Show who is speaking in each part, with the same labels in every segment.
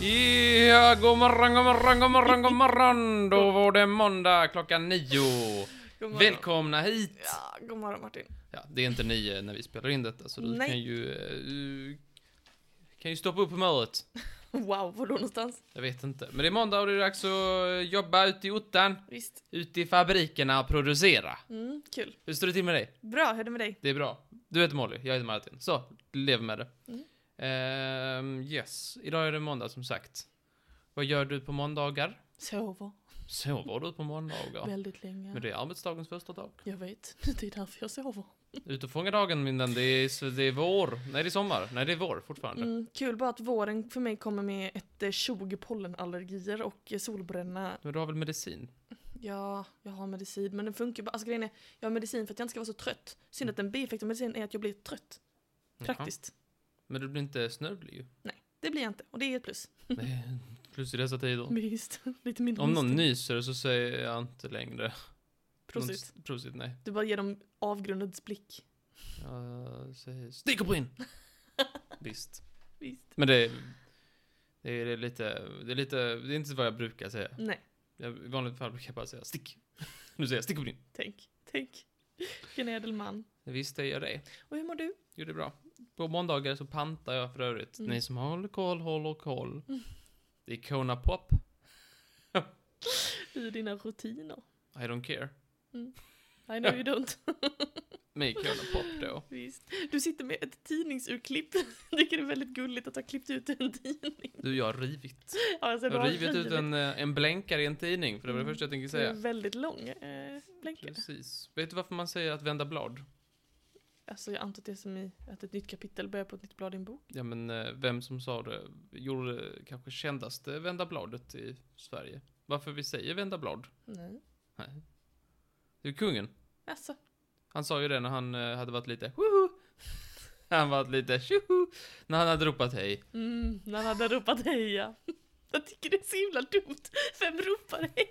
Speaker 1: Ja, god morgon, god morgon, god morgon, god morgon. Då var det måndag klockan nio.
Speaker 2: God morgon.
Speaker 1: Välkomna hit.
Speaker 2: Ja, god morgon Martin.
Speaker 1: Ja, det är inte nio när vi spelar in detta, så du
Speaker 2: Nej.
Speaker 1: kan ju... eh, kan ju stoppa upp humöret.
Speaker 2: Wow, var då någonstans?
Speaker 1: Jag vet inte. Men det är måndag och det är dags att eh, jobba ute i ottan.
Speaker 2: Visst.
Speaker 1: Ute i fabrikerna och producera.
Speaker 2: Mm, kul.
Speaker 1: Hur står det till med dig?
Speaker 2: Bra, hur är det med dig?
Speaker 1: Det är bra. Du heter Molly, jag heter Martin. Så, lev med det.
Speaker 2: Mm.
Speaker 1: Ehm, yes, idag är det måndag som sagt. Vad gör du på måndagar?
Speaker 2: Sover
Speaker 1: Sover du på måndagar?
Speaker 2: väldigt länge.
Speaker 1: Men det är arbetsdagens första dag.
Speaker 2: Jag vet, det är därför jag sover.
Speaker 1: Ut och fånga dagen min vän, det är, så det är vår. Nej, det är sommar. Nej, det är vår fortfarande.
Speaker 2: Mm, kul bara att våren för mig kommer med ett eh, 20 pollenallergier och eh, solbränna.
Speaker 1: Men du har väl medicin?
Speaker 2: Ja, jag har medicin men den funkar bara. Alltså grejen är, jag har medicin för att jag inte ska vara så trött. Synd att en bieffekt av medicin är att jag blir trött. Praktiskt.
Speaker 1: Jaha. Men du blir inte snövlig ju.
Speaker 2: Det blir jag inte och det är ett plus.
Speaker 1: Nej, Plus i dessa
Speaker 2: Mm,
Speaker 1: tider.
Speaker 2: Visst, lite mindre
Speaker 1: Om någon
Speaker 2: misstänkt.
Speaker 1: nyser så säger jag inte längre.
Speaker 2: Prosit.
Speaker 1: Någon- Prosit, nej.
Speaker 2: Du bara ger dem avgrundens blick.
Speaker 1: Jag säger stick och brinn! Visst.
Speaker 2: Visst.
Speaker 1: Men det, det är lite, det är lite, det är inte vad jag brukar säga.
Speaker 2: Nej.
Speaker 1: Jag, I vanliga fall brukar jag bara säga stick. Nu säger jag stick och brinn.
Speaker 2: Tänk, tänk. Vilken ädel man.
Speaker 1: Visst det gör jag det.
Speaker 2: Och hur mår du?
Speaker 1: Jo, det är bra. På måndagar så pantar jag för övrigt.
Speaker 2: Mm.
Speaker 1: Ni som håller koll, håller koll. Det är Kona Pop.
Speaker 2: I dina rutiner?
Speaker 1: I don't care.
Speaker 2: I know you don't.
Speaker 1: Med Kona Pop då.
Speaker 2: Visst. Du sitter med ett tidningsurklipp. Jag tycker det är väldigt gulligt att ha klippt ut en tidning.
Speaker 1: Du, jag har rivit.
Speaker 2: Ja, alltså,
Speaker 1: Jag
Speaker 2: du
Speaker 1: har
Speaker 2: har
Speaker 1: rivit ut en, eh, en blänkare i en tidning, för det var det
Speaker 2: Mm.
Speaker 1: första jag tänkte
Speaker 2: Det är
Speaker 1: säga.
Speaker 2: en väldigt lång eh, blänkare.
Speaker 1: Precis. Vet du varför man säger att vända blad?
Speaker 2: Alltså jag antar att det är som i att ett nytt kapitel börjar på ett nytt blad i en bok.
Speaker 1: Ja, men eh, vem som sa det gjorde det kanske kändaste Vända bladet i Sverige. Varför vi säger Vända blad?
Speaker 2: Nej.
Speaker 1: Nej. Det är kungen.
Speaker 2: Alltså,
Speaker 1: Han sa ju det när han eh, hade varit lite woho! Han var lite tjoho! När han hade ropat hej.
Speaker 2: mm, när han hade ropat heja. Jag tycker det är så himla dumt. Vem ropar hej?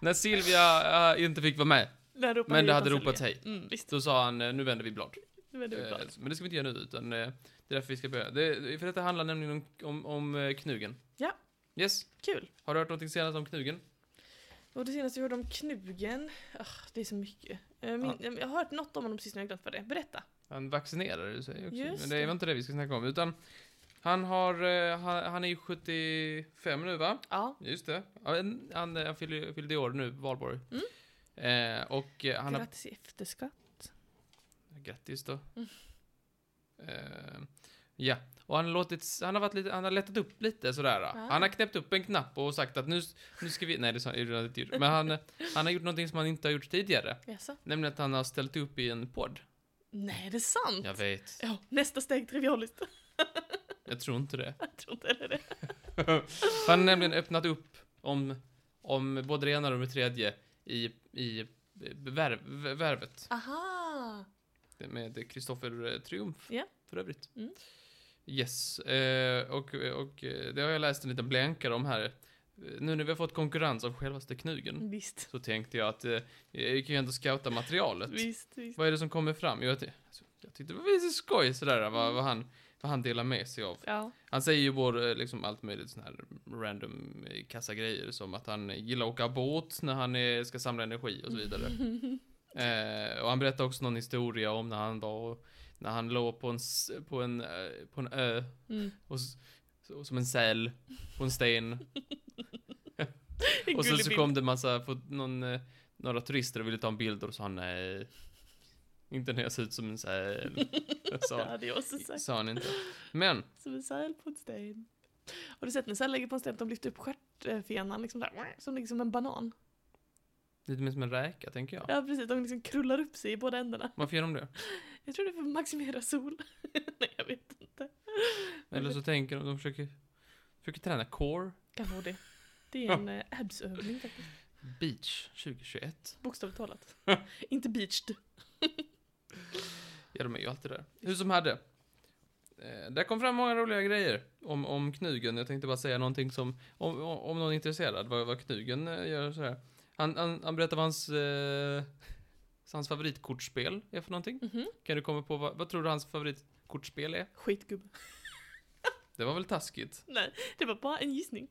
Speaker 1: När Silvia eh, inte fick vara med,
Speaker 2: När ropar
Speaker 1: men det
Speaker 2: heja
Speaker 1: hade
Speaker 2: på
Speaker 1: ropat
Speaker 2: Silvia.
Speaker 1: hej.
Speaker 2: Mm, visst,
Speaker 1: Då sa han eh, nu vänder vi blad.
Speaker 2: nu är du
Speaker 1: Eh,
Speaker 2: glad.
Speaker 1: Men det ska vi inte göra nu, utan eh, det är därför vi ska börja. Det, för detta handlar nämligen om, om, om eh, knugen.
Speaker 2: Ja.
Speaker 1: Yes.
Speaker 2: Kul.
Speaker 1: Har du hört någonting senast om knugen?
Speaker 2: Och det senaste jag hörde om knugen, ah, det är så mycket. Eh, Min, Jag har hört något om honom precis nu, jag har glömt vad det är. Berätta.
Speaker 1: Han vaccinerade sig också.
Speaker 2: Just
Speaker 1: men det
Speaker 2: det.
Speaker 1: var inte det vi ska snacka om. Utan han har, eh, han, han är ju 75 nu va?
Speaker 2: Ja,
Speaker 1: Just det. Ja, en- Han, eh, han fyllde, ju- fyllde i år nu, valborg.
Speaker 2: Mm.
Speaker 1: Eh, och eh, han har...
Speaker 2: grattis i efterskatt.
Speaker 1: Grattis då. Eh, ja. Och han har låtit, han har varit lite, han har lättat upp lite sådär. Han har knäppt upp en knapp och sagt att nu, nu ska vi, nej det sa det gjorde han inte. Men han, eh, han har gjort någonting som han inte har gjort tidigare.
Speaker 2: Jaså?
Speaker 1: Nämligen att han har ställt upp i en podd.
Speaker 2: Nej, det är sant!
Speaker 1: Jag vet.
Speaker 2: Ja, nästa steg trivialiskt.
Speaker 1: Jag tror inte det.
Speaker 2: Jag tror inte heller det.
Speaker 1: Han har nämligen öppnat upp om, om både det ena och det tredje i, i eh, värv, värvet
Speaker 2: Aha!
Speaker 1: med Kristoffer eh, Triumf
Speaker 2: Ja.
Speaker 1: för övrigt.
Speaker 2: Mm.
Speaker 1: Yes, eh, och, och eh, det har jag läst en liten blänkare om här. Eh, Nu när vi har fått konkurrens av självaste knugen
Speaker 2: Mm, Visst.
Speaker 1: så tänkte jag att eh, jag kan ju ändå scouta materialet.
Speaker 2: Visst, visst.
Speaker 1: Vad är det som kommer fram? Jag, ty- alltså, jag tyckte det var så skoj sådär vad,
Speaker 2: Mm.
Speaker 1: vad, han, vad han delar med sig av.
Speaker 2: Ja.
Speaker 1: Han säger ju både eh, liksom allt möjligt sån här random eh, kassa grejer som att han eh, gillar att åka båt när han eh, ska samla energi och så vidare.
Speaker 2: Mm.
Speaker 1: eh, och han berättar också någon historia om när han var när han låg på en, s- på en, eh, på en ö
Speaker 2: Mm.
Speaker 1: och, s- så- som en säl på en sten.
Speaker 2: En
Speaker 1: och sen
Speaker 2: gullig
Speaker 1: så
Speaker 2: bild.
Speaker 1: kom det massa, få- någon, eh, några turister och ville ta en bild och då sa han nej. Inte när jag ser ut som en säl. sa,
Speaker 2: Ja, det
Speaker 1: han-
Speaker 2: hade jag också sagt.
Speaker 1: sa han inte. Men
Speaker 2: Som en säl på en sten. Har du sett när sälar ligger på en sten att de lyfter upp stjärtfenan liksom där, som ligger som en banan?
Speaker 1: lite mer som en räka tänker jag.
Speaker 2: Ja, precis. De liksom krullar upp sig i båda ändarna.
Speaker 1: Varför gör de det?
Speaker 2: Jag tror det är för att maximera sol. Nej, jag vet inte.
Speaker 1: Eller så tänker de, de försöker, försöker träna core
Speaker 2: Kan vara det. Det är en eh, absövning faktiskt.
Speaker 1: beach 2021.
Speaker 2: Bokstavligt talat. inte beached.
Speaker 1: Ja, de är ju alltid där. Hur som hade. Eh, där kom fram många roliga grejer om, om knugen. Jag tänkte bara säga någonting som, om, om- om någon är intresserad, vad, vad knugen eh, gör så här. Han, han, han berättar vad hans, eh, hans favoritkortspel är för någonting.
Speaker 2: Mhm.
Speaker 1: Kan du komma på vad, vad tror du hans favoritkortspel är?
Speaker 2: Skitgubbe.
Speaker 1: Det var väl taskigt.
Speaker 2: Nej, det var bara en gissning.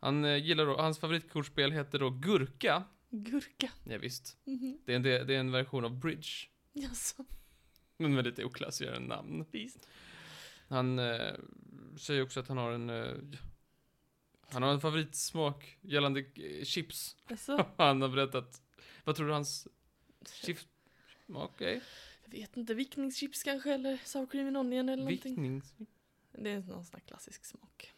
Speaker 1: Han eh, gillar då, hans favoritkortspel heter då Gurka.
Speaker 2: Gurka.
Speaker 1: Ja, visst.
Speaker 2: Mhm.
Speaker 1: Det är, en, det, det är en version av Bridge.
Speaker 2: Jaså,
Speaker 1: Men med lite oklassigare namn.
Speaker 2: visst.
Speaker 1: Han eh, säger också att han har en... Eh, han har en favoritsmak gällande eh, chips.
Speaker 2: Alltså,
Speaker 1: Han har berättat. Vad tror du hans chipssmak är?
Speaker 2: jag vet inte, vickningschips kanske eller sour cream and onion eller någonting.
Speaker 1: Vicknings...
Speaker 2: Det är någon sån här klassisk smak.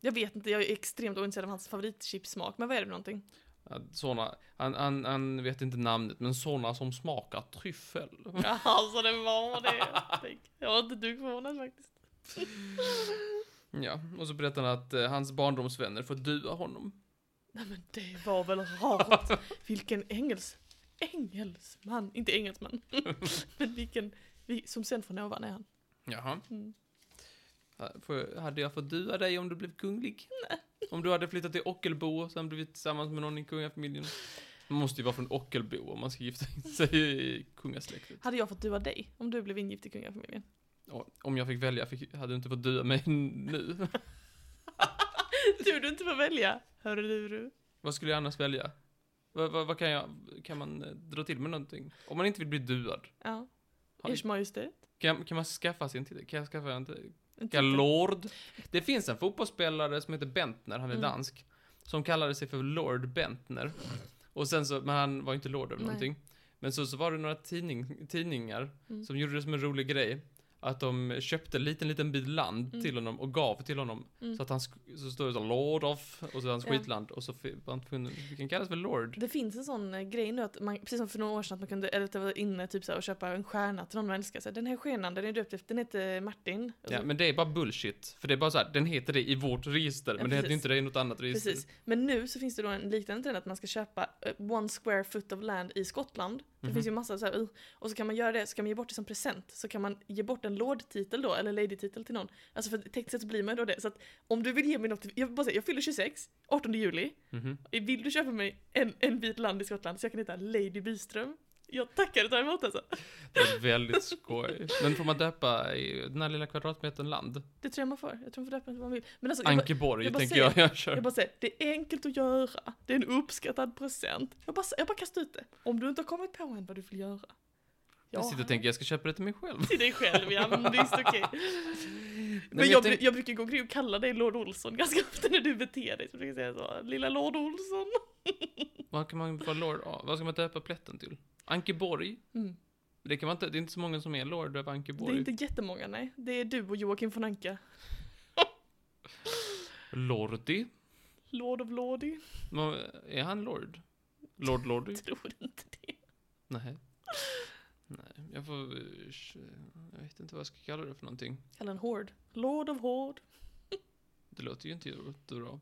Speaker 2: Jag vet inte, jag är extremt ointresserad av hans favoritchipssmak, men vad är det för någonting?
Speaker 1: Ja, Såna, han, han, han vet inte namnet, men såna som smakar tryffel.
Speaker 2: Ja, alltså det var det. Tänk, Jag var inte dugg förvånad faktiskt.
Speaker 1: Ja, och så berättar han att eh, hans barndomsvänner får dua honom.
Speaker 2: Nej men det var väl rart. Vilken engels... Engelsman. Inte engelsman. men vilken... vi- Som sen från ovan är han.
Speaker 1: Jaha.
Speaker 2: Mm.
Speaker 1: Ja, Får, hade jag fått dua dig om du blev kunglig? Nej. Om du hade flyttat till Ockelbo och sen blivit tillsammans med någon i kungafamiljen? Man måste ju vara från Ockelbo om man ska gifta in sig i kungasläktet.
Speaker 2: Hade jag fått dua dig om du blev ingift i kungafamiljen?
Speaker 1: Ja, Om jag fick välja fick, hade du inte fått dua mig nu.
Speaker 2: Du, du inte får välja. Hörru du, du.
Speaker 1: Vad skulle jag annars välja? Vad, vad, vad kan jag, kan man eh, dra till med någonting? Om man inte vill bli duad,
Speaker 2: Ja.
Speaker 1: har-
Speaker 2: Ers Majestät.
Speaker 1: kan, kan man skaffa sig en titel? Kan jag skaffa en titel?
Speaker 2: En titel.
Speaker 1: Lord. Det finns en fotbollsspelare som heter Bentner, han är
Speaker 2: Mm.
Speaker 1: dansk. Som kallade sig för Lord Bentner. Och sen så, men han var ju inte Lord över
Speaker 2: Nej.
Speaker 1: någonting. Men så, så var det några tidning, tidningar
Speaker 2: Mm.
Speaker 1: som gjorde det som en rolig grej. Att de köpte en liten, liten bit land
Speaker 2: Mm.
Speaker 1: till honom och gav till honom.
Speaker 2: Mm.
Speaker 1: Så att han, sk- så står det så Lord of, och så hans
Speaker 2: Ja.
Speaker 1: skitland. Och så fi- var han tvungen, vi kan kallas för Lord.
Speaker 2: Det finns en sån eh, grej nu att man, precis som för några år sedan att man kunde, eller att det var inne typ såhär och köpa en stjärna till någon man älskar. Så här, den här stjärnan, den är döpt efter, den heter Martin. Och så-
Speaker 1: Ja, men det är bara bullshit. För det är bara så här, den heter det i vårt register.
Speaker 2: Ja,
Speaker 1: men det heter
Speaker 2: precis.
Speaker 1: inte det i något annat register.
Speaker 2: Precis. Men nu så finns det då en liknande trend att man ska köpa eh, one square foot of land i Skottland. Det
Speaker 1: Mhm.
Speaker 2: finns ju massa så här, uh, och så kan man göra det, så kan man ge bort det som present. Så kan man ge bort en lordtitel då, eller ladytitel till någon. Alltså för tekniskt sett så blir man ju då det. Så att om du vill ge mig något, jag vill bara säga, jag fyller 26, 18 juli.
Speaker 1: Mhm.
Speaker 2: Vill du köpa mig en, en bit land i Skottland så jag kan heta Lady Byström? Jag tackar och tar emot alltså.
Speaker 1: Det är väldigt skoj. Men får man döpa i den här lilla kvadratmetern land?
Speaker 2: Det tror jag man får. Jag tror man får döpa den till vad man vill. Men alltså, jag bara,
Speaker 1: Ankeborg
Speaker 2: jag bara
Speaker 1: tänker
Speaker 2: säger-
Speaker 1: jag, jag kör.
Speaker 2: jag bara säger, det är enkelt att göra. Det är en uppskattad present. Jag bara, jag bara kastar ut det. Om du inte har kommit på än vad du vill göra.
Speaker 1: jag sitter och tänker jag ska köpa det till mig själv.
Speaker 2: Till dig själv, ja. Men visst, okej. Men,
Speaker 1: men jag
Speaker 2: jag,
Speaker 1: tänk-
Speaker 2: bru- jag brukar gå omkring och kalla dig Lord Olsson ganska ofta när du beter dig. Så brukar jag säga så, lilla Lord Olsson.
Speaker 1: Vad kan man vara lord av? Vad ska man döpa plätten till? Ankeborg?
Speaker 2: Mm.
Speaker 1: Det kan man inte, det är inte så många som är lord över
Speaker 2: Det är
Speaker 1: Ankeborg.
Speaker 2: inte jättemånga, nej. Det är du och Joakim von Anka.
Speaker 1: Lordi?
Speaker 2: Lord of Lordy.
Speaker 1: Men Är han lord? Lord Lordi?
Speaker 2: Jag tror inte det.
Speaker 1: Nej. Nej, jag får... eh, Jag vet inte vad jag ska kalla det för någonting.
Speaker 2: Eller en hård. Lord of Hård.
Speaker 1: Det låter ju inte jättebra.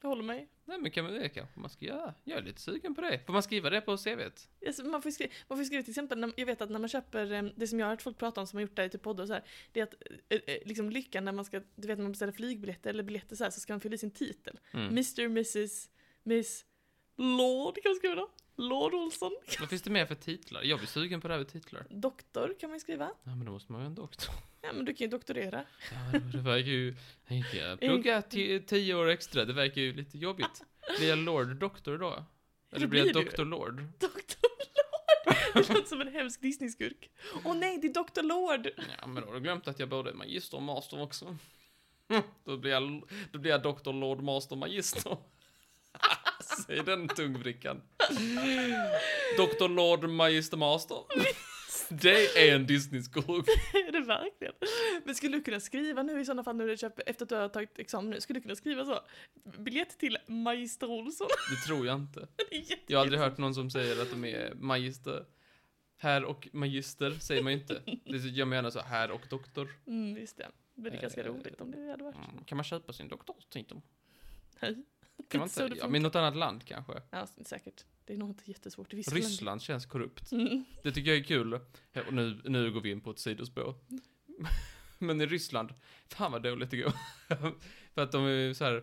Speaker 2: Jag håller mig.
Speaker 1: Nej, men kan man, det kanske man ska göra. Jag är lite sugen på det. Får man skriva det på CVt?
Speaker 2: Alltså, man, får ju skriva, man får ju skriva till exempel, när, jag vet att när man köper, eh, det som jag har hört folk prata om som har gjort det i typ poddar och så här, det är att eh, eh, liksom lyckan när man ska, du vet när man beställer flygbiljetter eller biljetter så här, så ska man fylla i sin titel.
Speaker 1: Mm.
Speaker 2: Mr, Mrs, Miss, Lord kan man skriva då. Lord Olsson.
Speaker 1: Vad finns det mer för titlar? Jag blir sugen på det här med titlar.
Speaker 2: Doktor kan man ju skriva.
Speaker 1: Ja, men då måste man ju ha en doktor.
Speaker 2: Ja men du kan ju doktorera.
Speaker 1: Ja, det verkar ju... Tänker jag, Plugga ti- tio år extra, det verkar ju lite jobbigt. Blir jag Lord Doktor då? Eller
Speaker 2: Det
Speaker 1: blir jag
Speaker 2: blir du.
Speaker 1: Doktor Lord?
Speaker 2: Doktor Lord! Det låter som en hemsk Disney-skurk. Åh nej, det är Doktor Lord!
Speaker 1: Ja, men då har du glömt att jag både är magister och master också. Då blir jag, då blir jag Doktor Lord Master Magister. Säg den tungvrickan. Doktor Lord Magister Master. Det är en Disney-skurk.
Speaker 2: Är det verkligen? Men skulle du kunna skriva nu i sådana fall när du köper, efter att du har tagit examen nu, skulle du kunna skriva så? Biljett till Magister Olsson.
Speaker 1: Det tror jag inte.
Speaker 2: Det är jättekul.
Speaker 1: Jag har aldrig hört någon som säger att de är magister. Herr och magister säger man ju inte. Det gör man gärna så, herr och doktor.
Speaker 2: Mm, just det. Men det är ganska
Speaker 1: Eh,
Speaker 2: roligt om det hade varit.
Speaker 1: Mm. Kan man köpa sin doktorstitel?
Speaker 2: Nej.
Speaker 1: Kan man
Speaker 2: inte
Speaker 1: inte?
Speaker 2: så det
Speaker 1: Ja,
Speaker 2: funkar.
Speaker 1: men i något annat land kanske.
Speaker 2: Ja, säkert. Det är nog inte jättesvårt. i vissa länder.
Speaker 1: Ryssland känns korrupt.
Speaker 2: Mm.
Speaker 1: Det tycker jag är kul. Ja, Och nu, nu går vi in på ett sidospår. Men i Ryssland, fan vad dåligt det går. För att de är ju så här,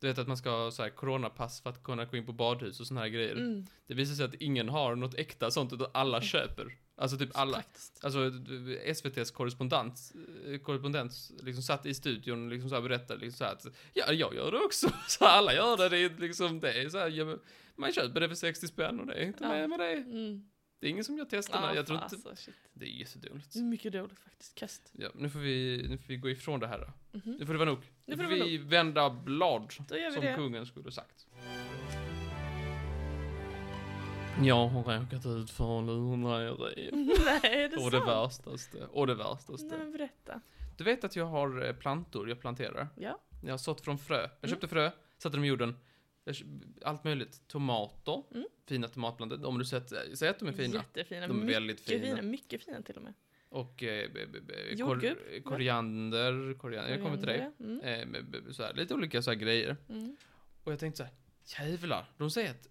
Speaker 1: Du vet att man ska ha så här coronapass för att kunna gå in på badhus och såna här grejer.
Speaker 2: Mm.
Speaker 1: Det visar sig att ingen har något äkta sånt utan alla köper. Alltså typ alla.
Speaker 2: Faktiskt.
Speaker 1: Alltså SVTs korrespondent, eh, korrespondent liksom satt i studion och liksom så här berättade liksom så här att ja, jag gör det också. Så alla gör det. Det är liksom det är så här, ja, men man köper det för 60 spänn och det är inte
Speaker 2: Ja.
Speaker 1: med med det.
Speaker 2: Mm.
Speaker 1: Det är ingen som gör testerna.
Speaker 2: Ja,
Speaker 1: jag tror
Speaker 2: fan,
Speaker 1: inte.
Speaker 2: Alltså, shit.
Speaker 1: Det är jättedåligt.
Speaker 2: Det är mycket dåligt faktiskt. Kast.
Speaker 1: Ja, nu får vi, nu får vi gå ifrån det här då.
Speaker 2: Mhm.
Speaker 1: Nu får det vara nog. Nu
Speaker 2: Nu
Speaker 1: får
Speaker 2: får det vara
Speaker 1: vi vända blad.
Speaker 2: Då gör vi
Speaker 1: Som
Speaker 2: det.
Speaker 1: kungen skulle sagt. Jag har råkat ut för en lurendrejeri.
Speaker 2: Nej, är det
Speaker 1: Och
Speaker 2: sant?
Speaker 1: det värstaste. Och det värstaste.
Speaker 2: Nej, men berätta.
Speaker 1: Du vet att jag har eh, plantor jag planterar?
Speaker 2: Ja. Mm.
Speaker 1: Jag har sått från frö. Jag köpte frö, satte dem i jorden. Jag kö- Allt möjligt. Tomater.
Speaker 2: Mm.
Speaker 1: Fina tomatplantor. Om du sett, säg att de är fina.
Speaker 2: Jättefina.
Speaker 1: De är
Speaker 2: mycket
Speaker 1: väldigt fina.
Speaker 2: Mycket fina till och med.
Speaker 1: Och eh, b- b- b-
Speaker 2: Jordgubb,
Speaker 1: kor- koriander, koriander. Jag kommer till dig.
Speaker 2: Mm.
Speaker 1: Eh, b- b- så här, lite olika så här grejer.
Speaker 2: Mm.
Speaker 1: Och jag tänkte så här, jävlar, de säger att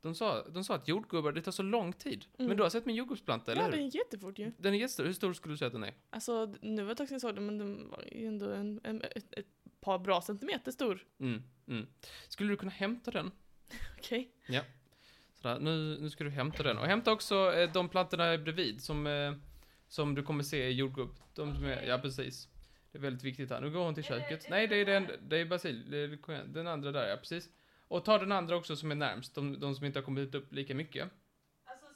Speaker 1: de sa, de sa att jordgubbar, det tar så lång tid.
Speaker 2: Mm.
Speaker 1: Men du har sett min jordgubbsplanta, eller
Speaker 2: Ja, den
Speaker 1: hur?
Speaker 2: är jättefort ju.
Speaker 1: Den är jättestor. Hur stor skulle du säga att den är?
Speaker 2: Alltså, nu var det ett tag sedan jag såg den, men den var ju ändå en, en, ett, ett par bra centimeter stor.
Speaker 1: Mm, mm. Skulle du kunna hämta den?
Speaker 2: Okej.
Speaker 1: Sådär, nu, nu ska du hämta den. Och hämta också eh, de plantorna bredvid som, eh, som du kommer se i jordgubb. De som är, ja precis. Det är väldigt viktigt här. Nu går hon till köket. Nej, det är den, det är basil. Det är Den andra där, ja precis. Och ta den andra också som är närmst. De, de som inte har kommit upp lika mycket.
Speaker 2: Alltså,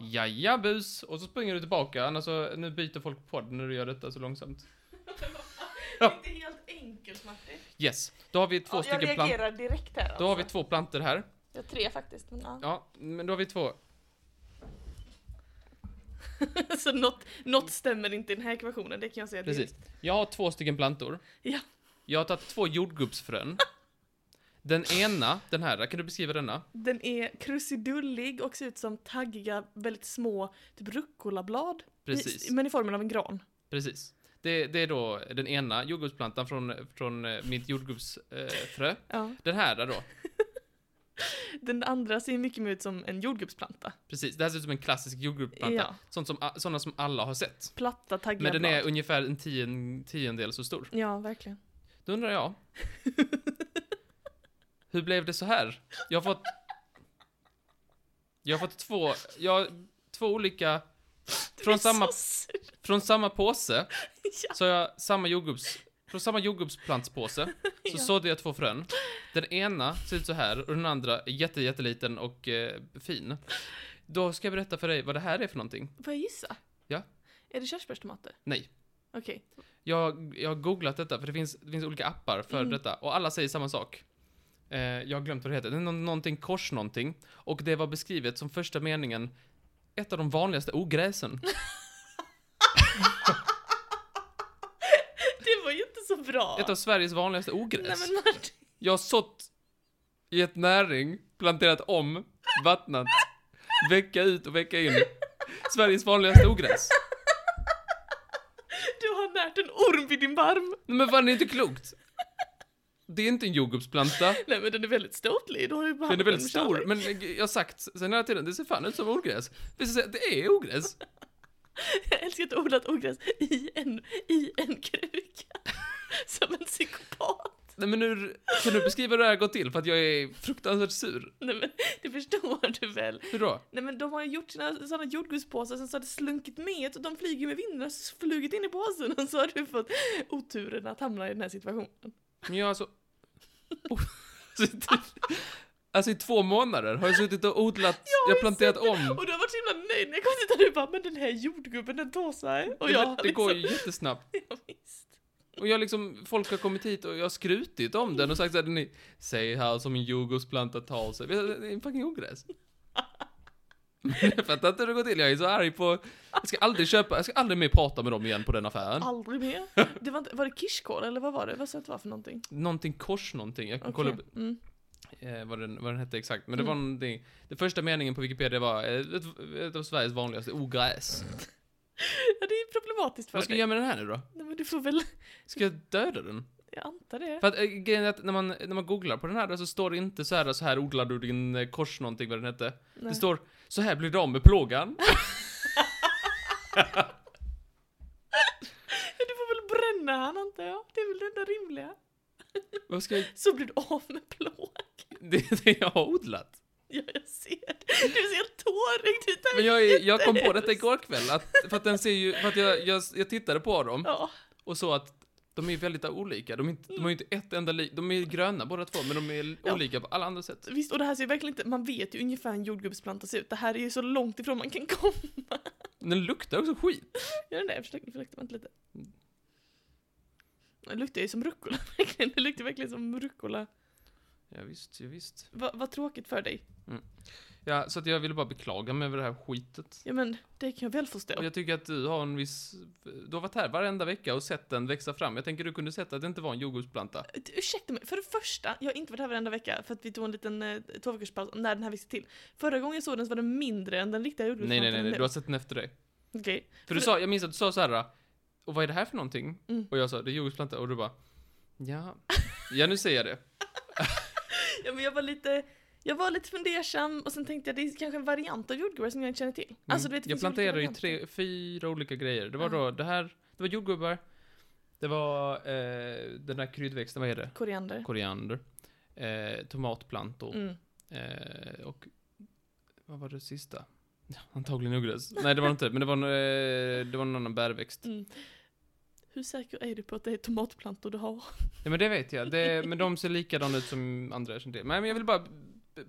Speaker 1: Jaja bus! Och så springer du tillbaka, annars så, nu byter folk podd när du gör detta så långsamt.
Speaker 2: Det är inte helt enkelt, Martin.
Speaker 1: Yes, då har vi två stycken
Speaker 2: Jag
Speaker 1: plantor.
Speaker 2: reagerar direkt här. alltså.
Speaker 1: Då har vi två plantor här.
Speaker 2: Jag har tre faktiskt, men ja.
Speaker 1: Ja, men då har vi två.
Speaker 2: Så något, något stämmer inte i den här ekvationen, det kan jag säga
Speaker 1: Precis.
Speaker 2: direkt.
Speaker 1: Jag har två stycken plantor.
Speaker 2: Ja.
Speaker 1: Jag har tagit två jordgubbsfrön. Den ena, den här, kan du beskriva denna?
Speaker 2: Den är krusidullig och ser ut som taggiga, väldigt små, typ rucolablad.
Speaker 1: Precis.
Speaker 2: I, men i formen av en gran.
Speaker 1: Precis. Det, det är då den ena jordgubbsplantan från, från eh, mitt jordgubbsfrö. Eh, frö.
Speaker 2: Ja.
Speaker 1: den här då,
Speaker 2: Den andra ser mycket mer ut som en jordgubbsplanta.
Speaker 1: precis. Det här ser ut som en klassisk jordgubbsplanta.
Speaker 2: Ja.
Speaker 1: Sånt som, a- sådana som alla har sett.
Speaker 2: Platta, taggiga
Speaker 1: Men den är
Speaker 2: blad.
Speaker 1: ungefär en tion, tiondel så stor.
Speaker 2: Ja, verkligen.
Speaker 1: Då undrar jag. hur blev det så här? Jag har fått... Jag har fått två... Jag, två olika...
Speaker 2: Du är
Speaker 1: Från samma,
Speaker 2: så sur.
Speaker 1: från samma påse
Speaker 2: Ja.
Speaker 1: så har jag samma jordgubbs... Från samma jordgubbsplantspåse så
Speaker 2: Ja.
Speaker 1: sådde jag två frön. Den ena ser ut så här och den andra är jätte, jätteliten och eh, fin. Då ska jag berätta för dig vad det här är för någonting.
Speaker 2: Får jag gissa?
Speaker 1: Ja.
Speaker 2: Är det körsbärstomater?
Speaker 1: Nej.
Speaker 2: Okej.
Speaker 1: Jag, jag har googlat detta för det finns, det finns olika appar för
Speaker 2: Mm.
Speaker 1: detta och alla säger samma sak. Eh, jag har glömt vad det heter. Det är nå- någonting kors någonting och det var beskrivet som första meningen ett av de vanligaste ogräsen.
Speaker 2: Det var ju inte så bra.
Speaker 1: Ett av Sveriges vanligaste
Speaker 2: Nej
Speaker 1: ogräs.
Speaker 2: men Martin.
Speaker 1: Jag har sått i ett näring, planterat om, vattnat, vecka ut och vecka in. Sveriges vanligaste ogräs.
Speaker 2: Du har närt en orm vid din barm.
Speaker 1: Nej, men fan, det är inte klokt. Det är inte en jordgubbsplanta.
Speaker 2: Nej men den är väldigt ståtlig. Du har ju bara
Speaker 1: Den är väldigt
Speaker 2: hand om
Speaker 1: stor,
Speaker 2: kärlek.
Speaker 1: men jag har sagt sen hela tiden, det ser fan ut som ogräs. Visst sig att det är ogräs.
Speaker 2: Jag älskar att odla ett ogräs i en, i en kruka. Som en psykopat.
Speaker 1: Nej men hur, kan du beskriva hur det här går till? För att jag är fruktansvärt sur.
Speaker 2: Nej men det förstår du väl.
Speaker 1: Hur då?
Speaker 2: Nej men de har ju gjort sina sådana jordgubbspåsar, sen så har det slunkit med och de flyger ju med vinden och så flugit in i påsen och så har du fått oturen att hamna i den här situationen.
Speaker 1: Men jag har alltså... Oh, alltså i två månader har jag suttit och odlat, jag har planterat om.
Speaker 2: Och du har varit så himla nöjd när jag kom dit och du bara men den här jordgubben den tar sig. Och jag liksom,
Speaker 1: det, det går ju jättesnabbt.
Speaker 2: Ja, visst.
Speaker 1: Och jag liksom, folk har kommit hit och jag har skrutit om den och sagt såhär, den är, säg här som en jordgubbsplanta tar sig. Det är en fucking ogräs. Jag fattar inte hur det går till, jag är så arg på, jag ska aldrig köpa, jag ska aldrig mer prata med dem igen på den affären.
Speaker 2: Aldrig mer. Det var, inte, var det kirskål eller vad var det? Vad sa du att det var för någonting?
Speaker 1: Någonting kors någonting, jag kan kolla upp
Speaker 2: Okej. Mm.
Speaker 1: eh, vad, den, vad den hette exakt. Men det var
Speaker 2: Mm.
Speaker 1: någonting, den första meningen på Wikipedia var, eh, ett, ett av Sveriges vanligaste ogräs.
Speaker 2: Ja det är problematiskt för
Speaker 1: Vad ska jag
Speaker 2: dig.
Speaker 1: göra med den här nu då?
Speaker 2: Nej men du får väl,
Speaker 1: Ska jag döda den?
Speaker 2: jag antar det.
Speaker 1: För att eh, grejen är att när man, när man googlar på den här då, så står det inte så här, så här odlar du din eh, kors någonting, vad den hette.
Speaker 2: Nej.
Speaker 1: Det står så här blir det av med plågan.
Speaker 2: Ja, du får väl bränna han antar jag. Det är väl det enda rimliga.
Speaker 1: Vad ska jag...
Speaker 2: Så blir du av med plåt.
Speaker 1: Det är det jag har odlat.
Speaker 2: Ja, jag ser det. Du ser helt tårögd ut. här.
Speaker 1: Men jag, är- jag kom på detta igår kväll, att, för att den ser ju, för att jag, jag, jag tittade på dem
Speaker 2: Ja,
Speaker 1: och såg att de är väldigt olika. De, är inte, de har ju inte ett enda lik, de är gröna båda två, men de är
Speaker 2: Ja.
Speaker 1: olika på alla andra sätt.
Speaker 2: visst. Och det här ser ju verkligen inte... Man vet ju ungefär hur en jordgubbsplanta ser ut. Det här är ju så långt ifrån man kan komma.
Speaker 1: Den luktar också skit.
Speaker 2: Gör den det? Jag försökte, försökte vänta lite.
Speaker 1: Mm.
Speaker 2: Det luktar ju som rucola, verkligen. Det luktar verkligen som rucola.
Speaker 1: Ja, visst, ja, visst.
Speaker 2: Va, vad tråkigt för dig.
Speaker 1: Ja, så att jag ville bara beklaga mig över det här skitet.
Speaker 2: Ja, men det kan jag väl förstå.
Speaker 1: Och jag tycker att du har en viss... Du har varit här varenda vecka och sett den växa fram. Jag tänker du kunde sett att det inte var en jordgubbsplanta.
Speaker 2: Du, Ursäkta mig, för det första, jag har inte varit här varenda vecka för att vi tog en liten eh, tvåveckorspaus när den här växte till. Förra gången jag såg den så var den mindre än den riktiga
Speaker 1: Nej, nej, nej,
Speaker 2: jordgubbsplantan
Speaker 1: nej,
Speaker 2: nu.
Speaker 1: du har sett den efter dig.
Speaker 2: Okej.
Speaker 1: För du
Speaker 2: Men-
Speaker 1: sa, jag minns att du sa så här. och vad är det här för någonting?
Speaker 2: Mm.
Speaker 1: Och jag sa, det är jordgubbsplanta, och du bara, ja, ja nu ser jag det.
Speaker 2: Ja, men jag var lite... Jag var lite fundersam och sen tänkte jag det är kanske en variant av jordgubbar som jag inte känner till. Alltså, du vet, det
Speaker 1: Mm. jag
Speaker 2: finns olika
Speaker 1: planterade ju
Speaker 2: varianter.
Speaker 1: tre, fyra olika grejer. Det var
Speaker 2: Ja.
Speaker 1: då, det här, det var jordgubbar, det var eh, den där kryddväxten, vad är det?
Speaker 2: Koriander.
Speaker 1: Koriander, eh, tomatplantor,
Speaker 2: Mm.
Speaker 1: eh, och vad var det sista? Ja, antagligen ogräs. Nej, det var det inte, men det var, en, eh, det var någon annan bärväxt.
Speaker 2: Mm. Hur säker är du på att det är tomatplantor du har?
Speaker 1: Ja men det vet jag. Det, men de ser likadana ut som andra jag känner till. Nej men jag vill bara... b-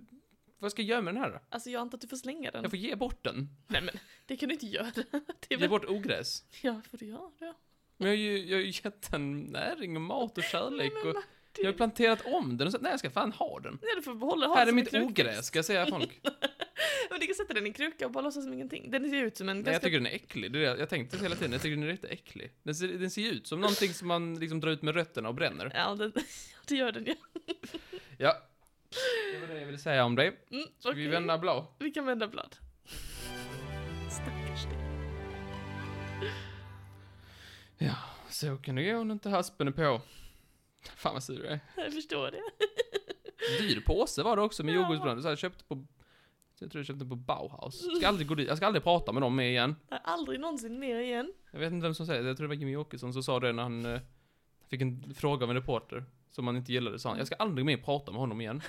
Speaker 1: Vad ska jag göra med den här då?
Speaker 2: Alltså jag antar att du får slänga den.
Speaker 1: Jag får ge bort den.
Speaker 2: Nej men, det kan du inte göra. Det är
Speaker 1: Ge
Speaker 2: väl...
Speaker 1: bort ogräs.
Speaker 2: Ja, får du göra det?
Speaker 1: Men jag har ju, jag har ju gett den näring och mat och kärlek
Speaker 2: Nej, men
Speaker 1: och...
Speaker 2: Martin.
Speaker 1: Jag har ju planterat om den och sagt nej jag ska fan ha den.
Speaker 2: Nej, du får behålla ha
Speaker 1: Här
Speaker 2: den
Speaker 1: är
Speaker 2: som
Speaker 1: mitt
Speaker 2: en krukväxt.
Speaker 1: ogräs, ska jag säga folk.
Speaker 2: Men du kan sätta den i en kruka och bara låtsas som ingenting. Den ser ut som en
Speaker 1: Nej jag
Speaker 2: ganska...
Speaker 1: tycker den är äcklig. Det är det, jag tänkte hela tiden, jag tycker den är riktigt äcklig. Den ser, den ser ju ut som någonting som man liksom drar ut med rötterna och bränner.
Speaker 2: Ja, den... det gör den ju.
Speaker 1: Ja. Det var det jag ville säga om dig.
Speaker 2: Mm,
Speaker 1: Ska vi
Speaker 2: okej.
Speaker 1: vända blad?
Speaker 2: Vi kan vända blad. Stackars dig.
Speaker 1: Så kan det gå när inte haspen är på. Fan vad sur jag är.
Speaker 2: Jag förstår det.
Speaker 1: dyr påse var det också med
Speaker 2: Ja.
Speaker 1: jordgubbsblandning. Så jag köpte på... Jag tror jag köpte på Bauhaus. Ska aldrig gå dit. Jag ska aldrig prata med dem mer igen.
Speaker 2: Jag har aldrig någonsin mer igen.
Speaker 1: Jag vet inte vem som säger det. Jag tror det var Jimmy Åkesson som sa det när han eh, fick en fråga av en reporter. Som han inte gillade. Sa han, jag ska aldrig mer prata med honom igen.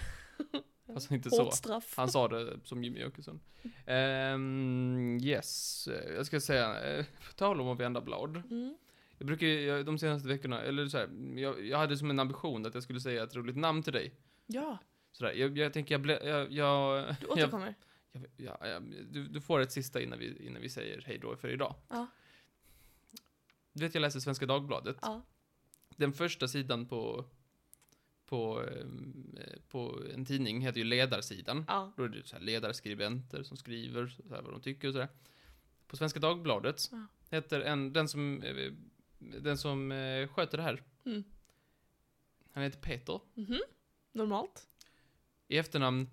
Speaker 1: Fast inte så.
Speaker 2: Hårt straff.
Speaker 1: Han sa det som Jimmy Åkesson. Ehm, yes. Eh, Jag ska säga, eh, på tal om att vända blad.
Speaker 2: Mm.
Speaker 1: Jag brukar ju, jag- de senaste veckorna, eller så här, jag, jag hade som en ambition att jag skulle säga ett roligt namn till dig.
Speaker 2: Ja,
Speaker 1: Sådär, jag, jag tänker jag, ble, jag, jag,
Speaker 2: du
Speaker 1: jag
Speaker 2: återkommer.
Speaker 1: Jag, ja, ja, du, du får ett sista innan vi, innan vi säger hej då för idag.
Speaker 2: Ja.
Speaker 1: Du vet, jag läser Svenska Dagbladet.
Speaker 2: Ja.
Speaker 1: Den första sidan på, på, ehm, eh, på en tidning heter ju ledarsidan.
Speaker 2: Ja.
Speaker 1: Då är det så här ledarskribenter som skriver så här vad de tycker och sådär. På Svenska Dagbladet
Speaker 2: Ja.
Speaker 1: heter en, den som, eh, den som eh, sköter det här,
Speaker 2: Mm.
Speaker 1: han heter Peter.
Speaker 2: Mhm. Normalt.
Speaker 1: I efternamn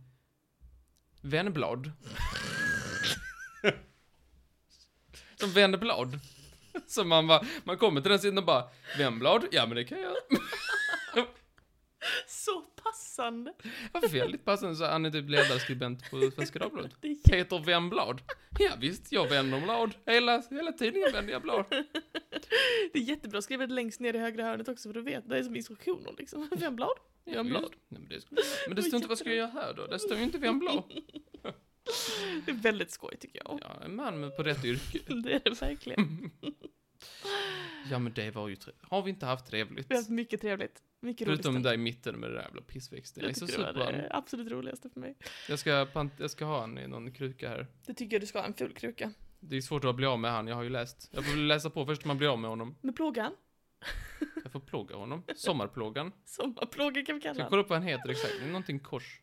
Speaker 1: Vennblad. Som Vennblad. Så man, bara, man kommer till den sidan och bara, Vennblad? Ja men det kan jag.
Speaker 2: Så passande.
Speaker 1: Varför väldigt passande så han är typ ledarskribent på Svenska Dagbladet.
Speaker 2: Det är
Speaker 1: Peter Vennblad. Ja visst, jag vänder blad. Hela, hela tidningen vänder jag blad.
Speaker 2: Det är jättebra skrivet längst ner i högra hörnet också för du vet, det är som instruktioner liksom. Fem blad.
Speaker 1: Ja,
Speaker 2: Vennblad.
Speaker 1: visst. Nej, men, det skulle, men det står inte vad ska jag göra här då? Det står ju inte Vennblad.
Speaker 2: Det är väldigt skoj tycker jag.
Speaker 1: Ja, en man med på rätt yrke.
Speaker 2: Det är det verkligen.
Speaker 1: Mm. Ja men det var ju trevligt. Har vi inte haft trevligt?
Speaker 2: Vi har haft alltså mycket trevligt. Mycket roligt.
Speaker 1: Förutom det
Speaker 2: stund.
Speaker 1: där i mitten med det där jävla pissväxten. Jag är
Speaker 2: Jag
Speaker 1: så
Speaker 2: tycker det
Speaker 1: sur
Speaker 2: var
Speaker 1: på den.
Speaker 2: det absolut roligaste för mig.
Speaker 1: Jag ska, pant- jag ska ha han i någon kruka här.
Speaker 2: Det tycker jag du ska ha, en ful kruka.
Speaker 1: Det är svårt att bli av med han, jag har ju läst. Jag får väl läsa på först om man blir av med honom.
Speaker 2: Med plågan.
Speaker 1: Jag får plåga honom. Sommarplågan.
Speaker 2: Sommarplågan kan vi
Speaker 1: Ska
Speaker 2: kalla
Speaker 1: jag
Speaker 2: den.
Speaker 1: kolla upp vad han heter exakt? Det är någonting kors.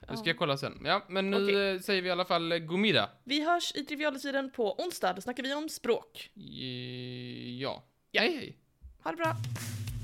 Speaker 1: Det ska
Speaker 2: Ja.
Speaker 1: jag kolla sen. Ja, men nu
Speaker 2: Okej.
Speaker 1: eh, säger vi i alla fall eh, god middag.
Speaker 2: Vi hörs i Trivialetyden på onsdag, då snackar vi om språk.
Speaker 1: I- Ja. Hej, hej.
Speaker 2: Ha det bra!